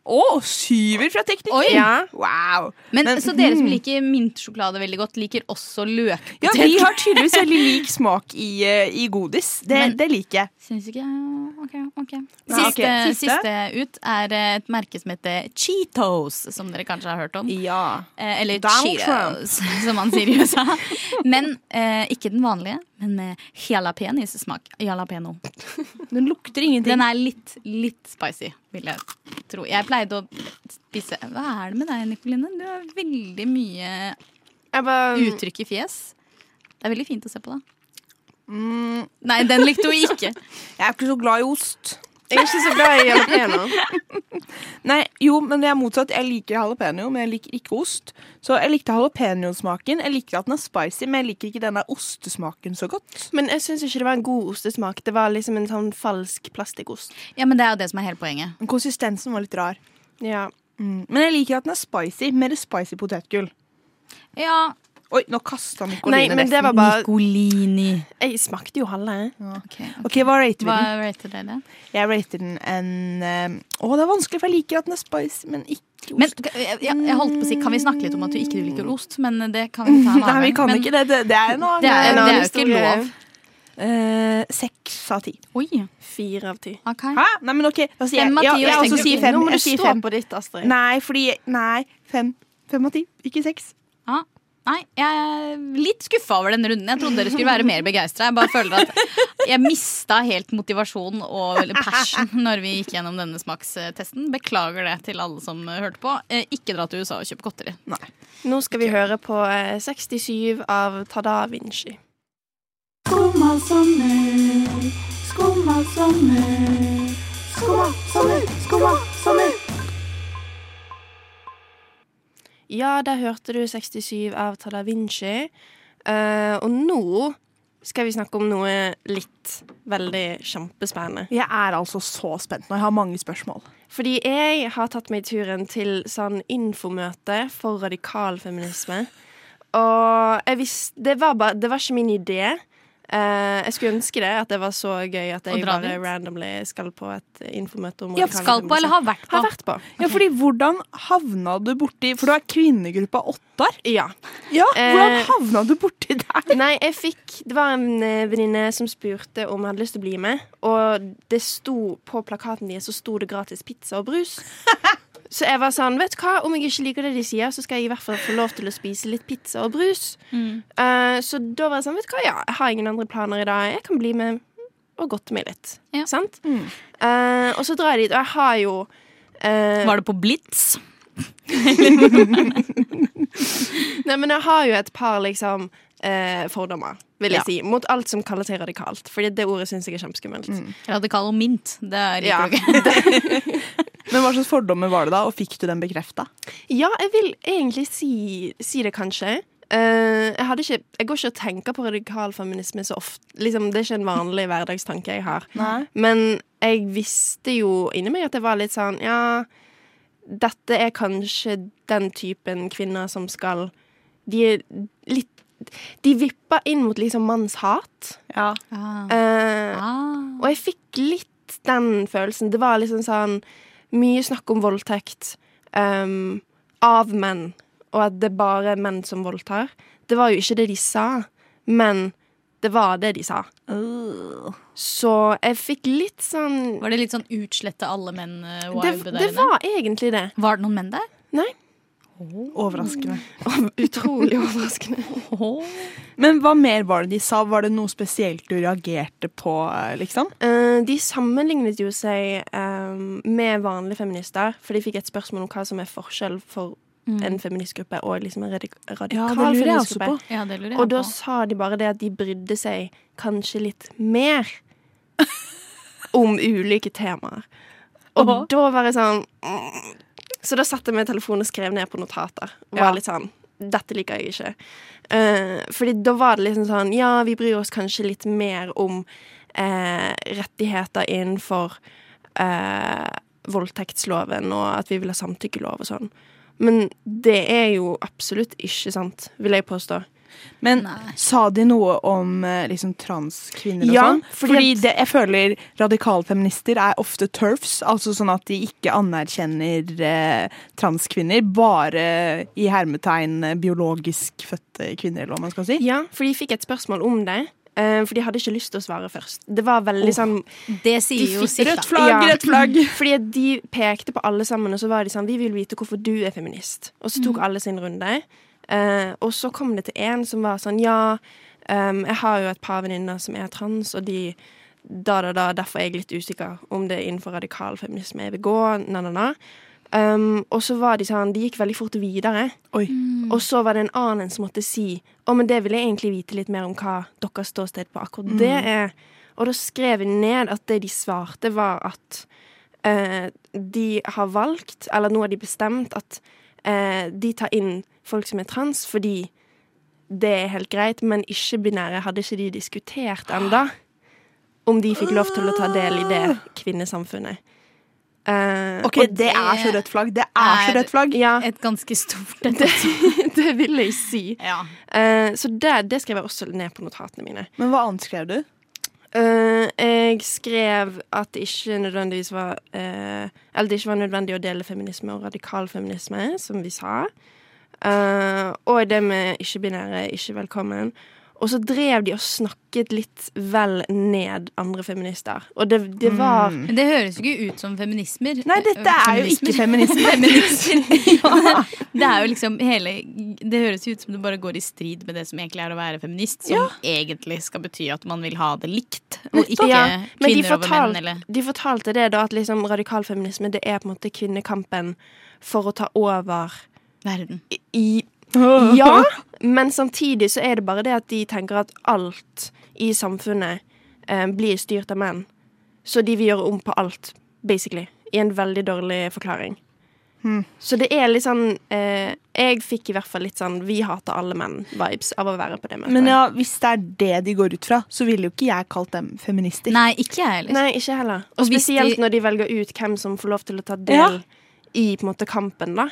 Speaker 8: Å, syver fra teknikken!
Speaker 7: Oi. Ja.
Speaker 8: Wow.
Speaker 7: Men, så dere som
Speaker 8: mm.
Speaker 7: liker mintsjokolade veldig godt, liker også løkpotet?
Speaker 8: Ja, vi har tydeligvis veldig lik smak i, eh, i godis. Det, det liker jeg.
Speaker 7: Syns ikke OK. ok
Speaker 8: Nei,
Speaker 7: Siste,
Speaker 8: ok.
Speaker 7: siste. ut er et merke som heter Cheetos, som dere kanskje har hørt om. Eh, eller
Speaker 8: Donald
Speaker 7: Cheetos, som man sier i USA. Men eh, ikke den vanlige, men med jalapenis-smak. Jalapeno.
Speaker 8: Den lukter ingenting.
Speaker 7: Den er litt, litt spicy, vil jeg tro. Jeg pleide å spise Hva er det med deg, Nikoline? Du har veldig mye uttrykk i fjes. Det er veldig fint å se på, da. Nei, den likte hun ikke.
Speaker 8: Jeg er ikke så glad i ost.
Speaker 3: Jeg er ikke så glad i jalapeno.
Speaker 8: Nei, jo, men det er motsatt. Jeg liker jalapeño, men jeg liker ikke ost. Så jeg likte jalapeñosmaken. Jeg liker at den er spicy, men jeg liker ikke denne ostesmaken så godt.
Speaker 3: Men jeg syns ikke det var en god ostesmak. Det var liksom en sånn falsk plastikkost.
Speaker 7: Ja, men det er jo det som er hele poenget.
Speaker 8: Men Konsistensen var litt rar.
Speaker 3: Ja.
Speaker 8: Mm. Men jeg liker at den er spicy. Mer spicy potetgull.
Speaker 7: Ja,
Speaker 8: Oi, nå kasta Nicoline
Speaker 3: Nei, men det var
Speaker 8: resten.
Speaker 3: bare
Speaker 7: Nicolini.
Speaker 3: Jeg smakte jo halve.
Speaker 8: Mm. OK, hva rater vi
Speaker 7: Hva
Speaker 8: den?
Speaker 7: rater dere?
Speaker 8: Jeg rater den en eh, Å, det er vanskelig, for jeg liker at den er spicy, men ikke
Speaker 7: Men jeg, jeg jeg holdt på å si, Kan vi snakke litt om at du ikke liker ost? Men det kan vi ta en annen
Speaker 8: Nei, vi
Speaker 7: gang.
Speaker 8: kan
Speaker 7: Men
Speaker 8: ikke det. Det, det er en annen
Speaker 7: Det er-
Speaker 8: en annen
Speaker 7: det er jo ikke
Speaker 8: historie.
Speaker 7: lov.
Speaker 8: Eh, Seks av ti.
Speaker 7: Oi.
Speaker 3: Fire av ti.
Speaker 8: Hæ? Nei, men OK. Da sier jeg,
Speaker 3: Fem av
Speaker 8: ja,
Speaker 3: ti, og
Speaker 8: jeg,
Speaker 3: jeg
Speaker 8: også
Speaker 3: tenker-
Speaker 8: sier fem.
Speaker 3: Nå må
Speaker 8: Jeg
Speaker 3: du
Speaker 8: sier
Speaker 3: stå
Speaker 8: fem.
Speaker 3: på ditt, Astrid.
Speaker 8: Nei, fordi Nei, fem. Fem av ti, ikke seks.
Speaker 7: Ja. Nei, jeg er litt skuffa over den runden. Jeg trodde dere skulle være mer begeistra. Jeg bare føler at jeg mista helt motivasjon og eller passion når vi gikk gjennom denne smakstesten. Beklager det til alle som eh, hørte på. Eh, Ikke dra til USA og kjøp godteri.
Speaker 3: Nå skal vi høre på eh, 67 av Tada Vinci.
Speaker 14: Skumma sommer, skumma sommer, skumma sommer, skumma sommer.
Speaker 3: Ja, der hørte du 67 av Tada Vinci. Eh, og nå skal vi snakke om noe litt veldig kjempespennende.
Speaker 8: Jeg er altså så spent nå. Jeg har mange spørsmål.
Speaker 3: Fordi jeg har tatt meg turen til sånn infomøte for radikal feminisme. Og jeg visste Det var, bare, det var ikke min idé. Eh, jeg skulle ønske det, at det var så gøy at
Speaker 7: Å
Speaker 3: jeg
Speaker 7: dra
Speaker 3: bare
Speaker 7: dit?
Speaker 3: randomly skal på et infomøte om
Speaker 8: Ja,
Speaker 3: radikal
Speaker 8: skal på, eller har vært på?
Speaker 3: Har vært på.
Speaker 8: Ja, fordi Hvordan havna du borti For du er kvinnegruppa åttar?
Speaker 3: Ja.
Speaker 8: ja hvordan
Speaker 3: Eh,
Speaker 8: havna du borti der?
Speaker 3: Nei, jeg fikk Det var en eh, venninne som spurte om jeg hadde lyst til å bli med. Og det sto på plakaten deres så sto det gratis pizza og brus. Så jeg var sånn, vet du hva, om jeg ikke liker det de sier, så skal jeg i hvert fall få lov til å spise litt pizza og brus. Eh, så da var jeg sånn, vet du hva, ja, jeg har ingen andre planer i dag. Jeg kan bli med og godte meg litt. Sant? Eh, og så drar jeg dit, og jeg har jo eh,
Speaker 7: Var det på Blitz?
Speaker 3: Nei, men jeg har jo et par liksom eh, fordommer, vil jeg
Speaker 7: Ja.
Speaker 3: si. Mot alt som kalles radikalt. Fordi det ordet syns jeg er kjempeskummelt.
Speaker 7: Radikal og mint, det liker
Speaker 3: Ja.
Speaker 7: du ikke.
Speaker 8: Men hva slags fordommer var det da, og fikk du den bekrefta?
Speaker 3: Ja, jeg vil egentlig si, si det, kanskje. Eh, jeg, hadde ikke, jeg går ikke og tenker på radikal feminisme så ofte. Liksom, det er ikke en vanlig hverdagstanke jeg har.
Speaker 8: Nei.
Speaker 3: Men jeg visste jo inni meg at jeg var litt sånn Ja, dette er kanskje den typen kvinner som skal De er litt De vipper inn mot liksom mannshat.
Speaker 8: Ja.
Speaker 3: Eh,
Speaker 7: Ah,
Speaker 3: Og jeg fikk litt den følelsen. Det var liksom sånn mye snakk om voldtekt ehm, av menn, og at det bare er menn som voldtar. Det var jo ikke det de sa, men det var det de sa. Så jeg fikk litt sånn
Speaker 7: Var det litt sånn utslette alle menn-vibe
Speaker 3: det,
Speaker 7: der
Speaker 3: det
Speaker 7: inne?
Speaker 3: var egentlig det.
Speaker 7: Var det noen menn der?
Speaker 3: Nei.
Speaker 8: Overraskende.
Speaker 3: Utrolig overraskende.
Speaker 8: Men hva mer var det de sa? Var det noe spesielt du reagerte på, eh, liksom?
Speaker 3: Eh, de sammenlignet jo seg eh, med vanlige feminister, for de fikk et spørsmål om hva som er forskjell for
Speaker 7: Mm.
Speaker 3: en feministgruppe og liksom en radik-
Speaker 7: Ja,
Speaker 3: radikal
Speaker 7: det lurer jeg også
Speaker 3: feministgruppe.
Speaker 7: på. Ja, det lurer jeg
Speaker 3: og da
Speaker 7: på.
Speaker 3: sa de bare det at de brydde seg kanskje litt mer om ulike temaer. Og da var jeg sånn mm. Så da satte jeg meg i telefonen og skrev ned på notater. Og var
Speaker 7: Ja.
Speaker 3: litt sånn Dette liker jeg ikke. Eh, fordi da var det liksom sånn Ja, vi bryr oss kanskje litt mer om eh, rettigheter innenfor eh, voldtektsloven, og at vi vil ha samtykkelov og sånn. Men det er jo absolutt ikke sant, vil jeg påstå.
Speaker 8: Men sa de noe om eh, liksom, transkvinner og
Speaker 3: Ja,
Speaker 8: sånn?
Speaker 3: fordi
Speaker 8: Fordi,
Speaker 3: at-
Speaker 8: det, jeg føler radikalfeminister er ofte turfs, altså sånn at de ikke anerkjenner eh, transkvinner, bare eh, i hermetegn eh, biologisk fødte kvinner, eller hva man skal si.
Speaker 3: Ja, for de fikk et spørsmål om det. eh, For de hadde ikke lyst til å svare først. Det var veldig sånn
Speaker 7: Det sier
Speaker 3: de
Speaker 7: jo
Speaker 3: fikk-
Speaker 7: sitt, da. Rødt flagg, rødt flagg.
Speaker 3: Fordi at de pekte på alle sammen, og så var de sånn Vi vil vite hvorfor du er feminist. Og så tok
Speaker 7: Mhm.
Speaker 3: alle sin runde. eh, og så kom det til en som var sånn Ja, ehm, jeg har jo et par venninner som er trans, og de da, da, da, derfor er jeg litt usikker om det er innenfor radikal feminisme jeg vil gå. Na, na, na. Um, og så var de sånn De gikk veldig fort videre. Og så var det en annen som måtte si Å, men det vil jeg egentlig vite litt mer om hva deres ståsted på akkurat
Speaker 7: Mm.
Speaker 3: det er. Og da skrev jeg ned at det de svarte, var at eh, de har valgt, eller nå har de bestemt, at eh, de tar inn folk som er trans fordi det er helt greit, men ikke-binære hadde ikke de diskutert enda om de fikk lov til å ta del i det kvinnesamfunnet. Eh,
Speaker 8: Ok,
Speaker 3: og
Speaker 8: det er så rødt flagg. Det er så rødt flagg.
Speaker 3: Ja.
Speaker 7: Et ganske stort
Speaker 3: det, det vil jeg si. Eh, så det, det skrev jeg også ned på notatene mine.
Speaker 8: Men hva annet skrev du?
Speaker 3: Eh, jeg skrev at det ikke nødvendigvis var eh, Eller det ikke var nødvendig å dele feminisme og radikal feminisme, som vi sa. Eh, og det med ikke-binære, ikke velkommen. Og så drev de og snakket litt vel ned andre feminister. Og det, det
Speaker 7: Mm.
Speaker 3: var
Speaker 7: Men det høres jo ikke ut som feminismer.
Speaker 8: Nei, dette er jo ikke
Speaker 7: feminisme.
Speaker 8: feminisme.
Speaker 7: Det er jo liksom hele Det høres jo ut som du bare går i strid med det som egentlig er å være feminist, som egentlig skal bety at man vil ha det likt, og ikke
Speaker 3: Ja, men de
Speaker 7: kvinner over
Speaker 3: fortal-
Speaker 7: menn, eller
Speaker 3: De fortalte det da, at liksom radikal feminisme det er på en måte kvinnekampen for å ta over
Speaker 7: Verden.
Speaker 3: I, i, ja, men samtidig så er det bare det at de tenker at alt i samfunnet eh, blir styrt av menn. Så de vil gjøre om på alt, basically. I en veldig dårlig forklaring.
Speaker 8: Hmm.
Speaker 3: Så det er litt sånn eh, Jeg fikk i hvert fall litt sånn 'vi hater alle menn'-vibes av å være på det møtet.
Speaker 8: Men ja, hvis det er det de går ut fra, så ville jo ikke jeg kalt dem feminister.
Speaker 7: Nei, ikke jeg heller.
Speaker 3: Nei, ikke heller. Og,
Speaker 7: Og hvis
Speaker 3: spesielt
Speaker 7: de-
Speaker 3: når de velger ut hvem som får lov til å ta del
Speaker 7: Ja.
Speaker 3: i på en måte kampen, da.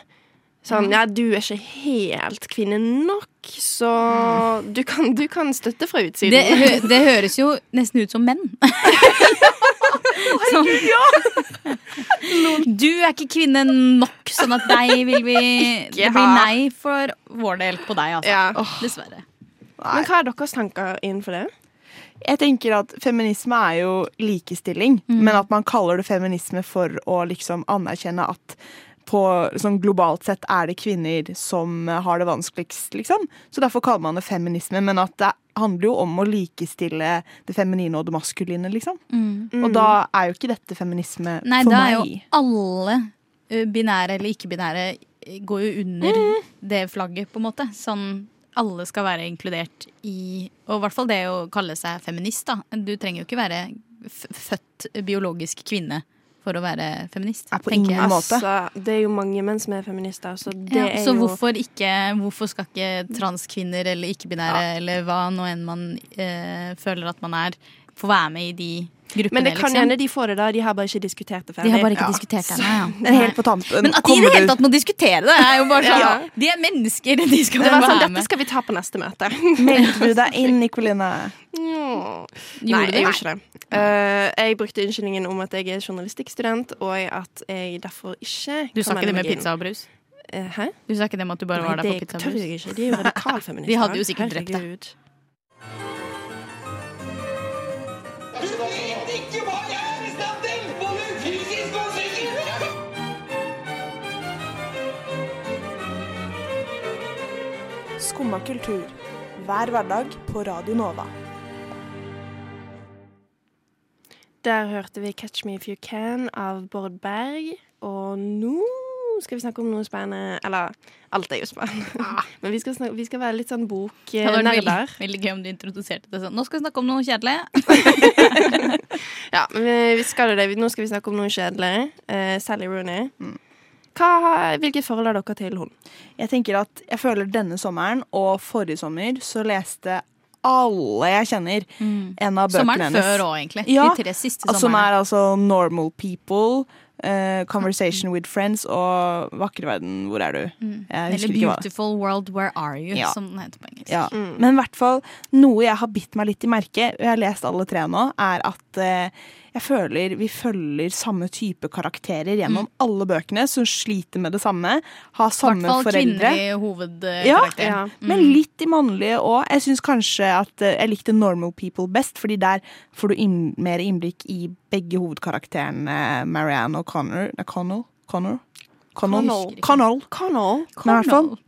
Speaker 3: Sånn,
Speaker 7: Mm.
Speaker 3: ja, du er ikke helt kvinne nok, så du kan, du kan støtte fra utsiden.
Speaker 7: Ah. Det, hø det høres jo nesten ut som menn. Sånn. Du er ikke kvinne nok, sånn at deg vil vi Det blir
Speaker 3: ha.
Speaker 7: nei for vår del på deg, altså. Dessverre.
Speaker 3: Men hva er deres tanker innenfor det?
Speaker 8: Jeg tenker at feminisme er jo likestilling,
Speaker 7: Mm.
Speaker 8: men at man kaller det feminisme for å liksom anerkjenne at på, sånn globalt sett er det kvinner som har det vanskeligst, liksom. Så derfor kaller man det feminisme, men at det handler jo om å likestille det feminine og det maskuline, liksom. Og da er jo ikke dette feminisme
Speaker 7: Mm. Nei,
Speaker 8: for
Speaker 7: da
Speaker 8: meg.
Speaker 7: er jo alle eh, ø, binære eller ikke-binære ø, går jo under det flagget, på en måte. Sånn alle skal være inkludert i Og i hvert fall det å kalle seg feminist, da. Du trenger jo ikke være f født biologisk kvinne for å være feminist. tenker jeg.
Speaker 3: Altså, det er jo mange menn som er feminister, så det
Speaker 7: Ja,
Speaker 3: er
Speaker 7: så
Speaker 3: jo
Speaker 7: hvorfor ikke Hvorfor skal ikke transkvinner eller ikke-binære eller hva nå enn man eh, føler at man er, få være med i de gruppene,
Speaker 3: Men det kan
Speaker 7: liksom?
Speaker 3: hende de får det, da. De har bare ikke diskutert det ferdig.
Speaker 7: De har bare ikke diskutert det, nei, ja.
Speaker 3: Så-
Speaker 7: Men helt på
Speaker 8: tampen
Speaker 7: Men at de i det hele tatt må diskutere det, er jo bare sånn De er mennesker, de skal
Speaker 3: det
Speaker 7: bare
Speaker 3: var sånn,
Speaker 7: være med.
Speaker 3: Dette skal vi ta på neste møte.
Speaker 8: Meldte du deg inn, Nikoline?
Speaker 3: Gjorde Nei,
Speaker 8: Gjorde du?
Speaker 3: jeg gjorde ikke det. Eh, jeg brukte unnskyldningen om at jeg er journalistikkstudent, og at jeg derfor ikke kan
Speaker 7: Du sa ikke
Speaker 3: melde
Speaker 7: det med
Speaker 3: meg inn. Eh,
Speaker 7: pizza og brus?
Speaker 3: Hæ?
Speaker 7: Du sa ikke det med at du bare
Speaker 3: Nei,
Speaker 7: var der for
Speaker 3: det
Speaker 7: pizza og
Speaker 3: tør
Speaker 7: brus?
Speaker 3: jeg ikke. De er jo radikalfeminister.
Speaker 7: De hadde jo sikkert drept deg.
Speaker 14: Du vet ikke hva jeg er i stand til! Både fysisk og psykisk!
Speaker 8: Skumma kultur. Hver hverdag på Radio Nova.
Speaker 3: Der hørte vi 'Catch Me If You Can' av Bård Berg. Og nå skal vi snakke om noe spennende Eller alt er jo
Speaker 7: Ah.
Speaker 3: spennende. Men vi skal, snakke, vi skal være litt sånn
Speaker 7: Det hadde
Speaker 3: boknerder.
Speaker 7: vært veldig, veldig gøy om du introduserte det sånn. Nå skal vi snakke om noe kjedelig.
Speaker 3: Ja, men vi, vi skal jo det. Vi- Nå skal vi snakke om noe kjedelig. Eh, Sally Rooney.
Speaker 7: Mm.
Speaker 3: Hva, hvilket forhold har dere til hun?
Speaker 8: Jeg tenker at jeg føler denne sommeren og forrige sommer så leste alle jeg kjenner, en av bøkene
Speaker 7: Mm. Sommeren
Speaker 8: hennes.
Speaker 7: før også, egentlig. De tre siste
Speaker 8: Som
Speaker 7: somrene.
Speaker 8: er altså Normal People, eh, Conversation with Friends og Vakre verden, hvor er du? Jeg husker
Speaker 7: Mm. Eller
Speaker 8: ikke hva det-
Speaker 7: Beautiful World Where Are You,
Speaker 8: Ja.
Speaker 7: som den heter på engelsk.
Speaker 8: Ja. Men i hvert fall noe jeg har bitt meg litt i merket, og jeg har lest alle tre nå, er at eh, jeg føler vi følger samme type karakterer gjennom alle bøkene, som sliter med det samme, har samme
Speaker 7: Hvertfall
Speaker 8: foreldre.
Speaker 7: kvinnelig
Speaker 8: Ja,
Speaker 7: hovedkarakter.
Speaker 8: ja. men litt i mannlige òg. Jeg syns kanskje at eh, jeg likte Normal People best, fordi der får du inn, mer innblikk i begge hovedkarakterene, Marianne og Connor. Nei, Connell? Connor? Connell.
Speaker 3: Connell.
Speaker 8: Connell. Men i hvert fall.
Speaker 3: Connell.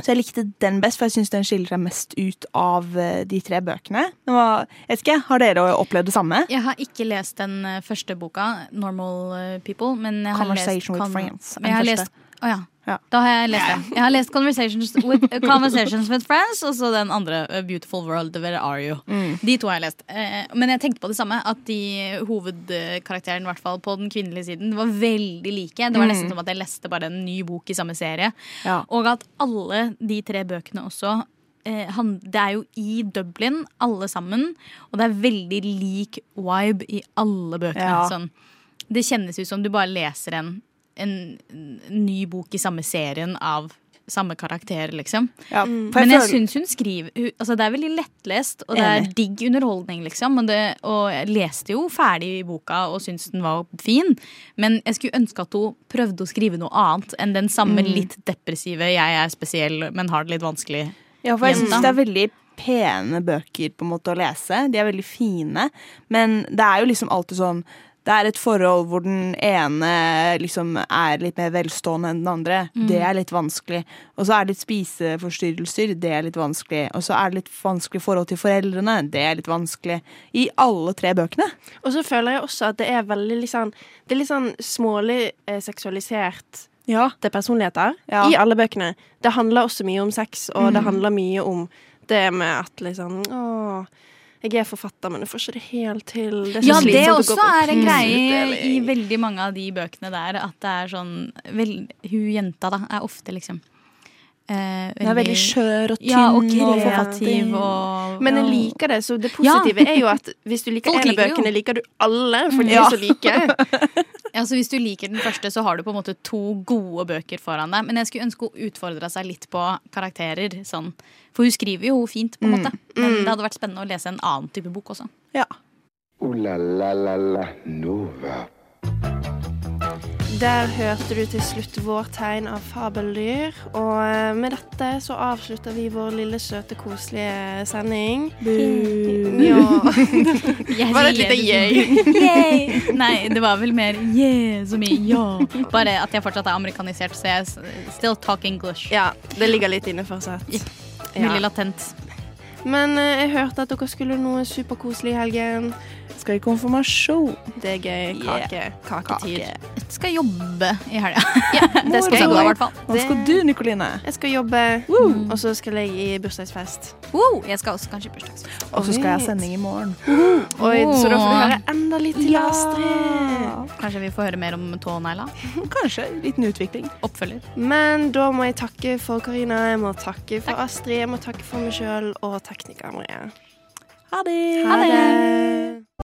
Speaker 8: Så jeg likte den best, for jeg syns den skiller seg mest ut av eh, de tre bøkene. Den var, jeg vet ikke, Har dere opplevd det samme?
Speaker 7: Jeg har ikke lest den eh, første boka, 'Normal eh, People', men jeg har lest
Speaker 8: Conversation with
Speaker 7: Con-
Speaker 8: Friends,
Speaker 7: men
Speaker 8: den
Speaker 7: Jeg har
Speaker 8: første.
Speaker 7: lest, å ja. Da har jeg lest det. Jeg har lest 'Conversations with, eh, Conversations with Friends' og så den andre, eh, 'Beautiful World Where Are You'.
Speaker 14: Mm.
Speaker 7: De to har jeg lest. Eh, Men jeg tenkte på det samme, at de hovedkarakterene, i hvert fall på den kvinnelige siden, var veldig like. Det var nesten
Speaker 14: Mm.
Speaker 7: som at jeg leste bare en ny bok i samme serie.
Speaker 14: Ja.
Speaker 7: Og at alle de tre bøkene også eh, han, Det er jo i Dublin, alle sammen. Og det er veldig lik vibe i alle bøkene.
Speaker 14: Ja.
Speaker 7: Sånn. Det kjennes ut som du bare leser en, en, en ny bok i samme serien av samme karakter, liksom.
Speaker 8: Ja,
Speaker 7: Mm.
Speaker 8: for jeg
Speaker 7: Men jeg
Speaker 8: føler-
Speaker 7: syns hun skriver hun, altså Det er veldig lettlest, og det er
Speaker 8: Enig.
Speaker 7: digg underholdning, liksom. Og, det, og jeg leste jo ferdig boka og syntes den var fin, men jeg skulle ønske at hun prøvde å skrive noe annet enn den samme
Speaker 8: Mm.
Speaker 7: litt depressive 'jeg er spesiell, men har det litt vanskelig'.
Speaker 8: Ja, for jeg
Speaker 7: jenta.
Speaker 8: syns det er veldig pene bøker på en måte å lese. De er veldig fine, men det er jo liksom alltid sånn det er et forhold hvor den ene liksom er litt mer velstående enn den andre.
Speaker 14: Mm.
Speaker 8: Det er litt vanskelig. Og så er det litt spiseforstyrrelser. Det er litt vanskelig. Og så er det litt vanskelig forhold til foreldrene. Det er litt vanskelig. I alle tre bøkene.
Speaker 3: Og så føler jeg også at det er veldig litt sånn Det er litt sånn smålig eh, seksualisert det personligheter i alle bøkene. Det handler også mye om sex, og det
Speaker 14: Mm.
Speaker 3: handler mye om det med at liksom Å, jeg er forfatter, men jeg får ikke det helt til. Det er så
Speaker 7: Ja,
Speaker 3: slitsomt
Speaker 7: det
Speaker 3: å gå Mm.
Speaker 7: også
Speaker 3: på
Speaker 7: er en greie
Speaker 3: putelig.
Speaker 7: i veldig mange av de bøkene der. At det er sånn vel, Hun jenta, da, er ofte liksom eh,
Speaker 8: Hun er veldig skjør og
Speaker 7: ja, og
Speaker 8: tynn og
Speaker 7: kreativ
Speaker 8: forfattig.
Speaker 7: og
Speaker 3: Men jeg
Speaker 7: ja.
Speaker 3: liker det, så det
Speaker 7: Ja.
Speaker 3: positive er jo at hvis du liker
Speaker 7: Folk
Speaker 3: en av
Speaker 7: liker det jo.
Speaker 3: bøkene, liker du alle, for de
Speaker 7: Ja.
Speaker 3: er så like.
Speaker 7: Ja, så Hvis du liker den første, så har du på en måte to gode bøker foran deg. Men jeg skulle ønske hun utfordra seg litt på karakterer. Sånn. For hun skriver jo fint, på en
Speaker 2: Mm.
Speaker 7: måte. Men
Speaker 2: Mm.
Speaker 7: det hadde vært spennende å lese en annen type bok også.
Speaker 2: Ooh la la la la Nova.
Speaker 3: Der hørte du til slutt vår tegn av fabeldyr, og eh, med dette så avslutter vi vår lille søte, koselige sending. Mm, Ja.
Speaker 7: Jeg
Speaker 3: Var det et
Speaker 7: sier
Speaker 3: lite
Speaker 7: som-
Speaker 3: yay?
Speaker 7: Yay! Nei, det var vel mer yeah som i ja. Bare at jeg fortsatt er amerikanisert, så jeg s- still talk English.
Speaker 3: Ja, det ligger litt inne fortsatt.
Speaker 7: Veldig latent.
Speaker 3: Men eh, jeg hørte at dere skulle noe superkoselig i helgen.
Speaker 8: Skal i konfirmasjon.
Speaker 3: Det er gøy. Kake. Kaketid.
Speaker 7: Skal jobbe i helga.
Speaker 3: det skal jeg gå, i hvert fall.
Speaker 8: Hva skal du, Nikoline?
Speaker 3: Jeg skal jobbe, Mm. og så skal jeg i bursdagsfest.
Speaker 7: Jeg skal også kanskje i bursdagsfest.
Speaker 8: Og så skal jeg ha sending i morgen.
Speaker 3: Oi, så da får du høre enda litt til
Speaker 7: Ja.
Speaker 3: Astrid.
Speaker 7: Kanskje vi får høre mer om tånegla?
Speaker 8: Kanskje. Liten utvikling.
Speaker 7: Oppfølger.
Speaker 3: Men da må jeg takke for Karina, jeg må takke for Astrid, jeg må takke for meg sjøl og teknikeren Marie.
Speaker 8: Ha det!
Speaker 3: Ha det!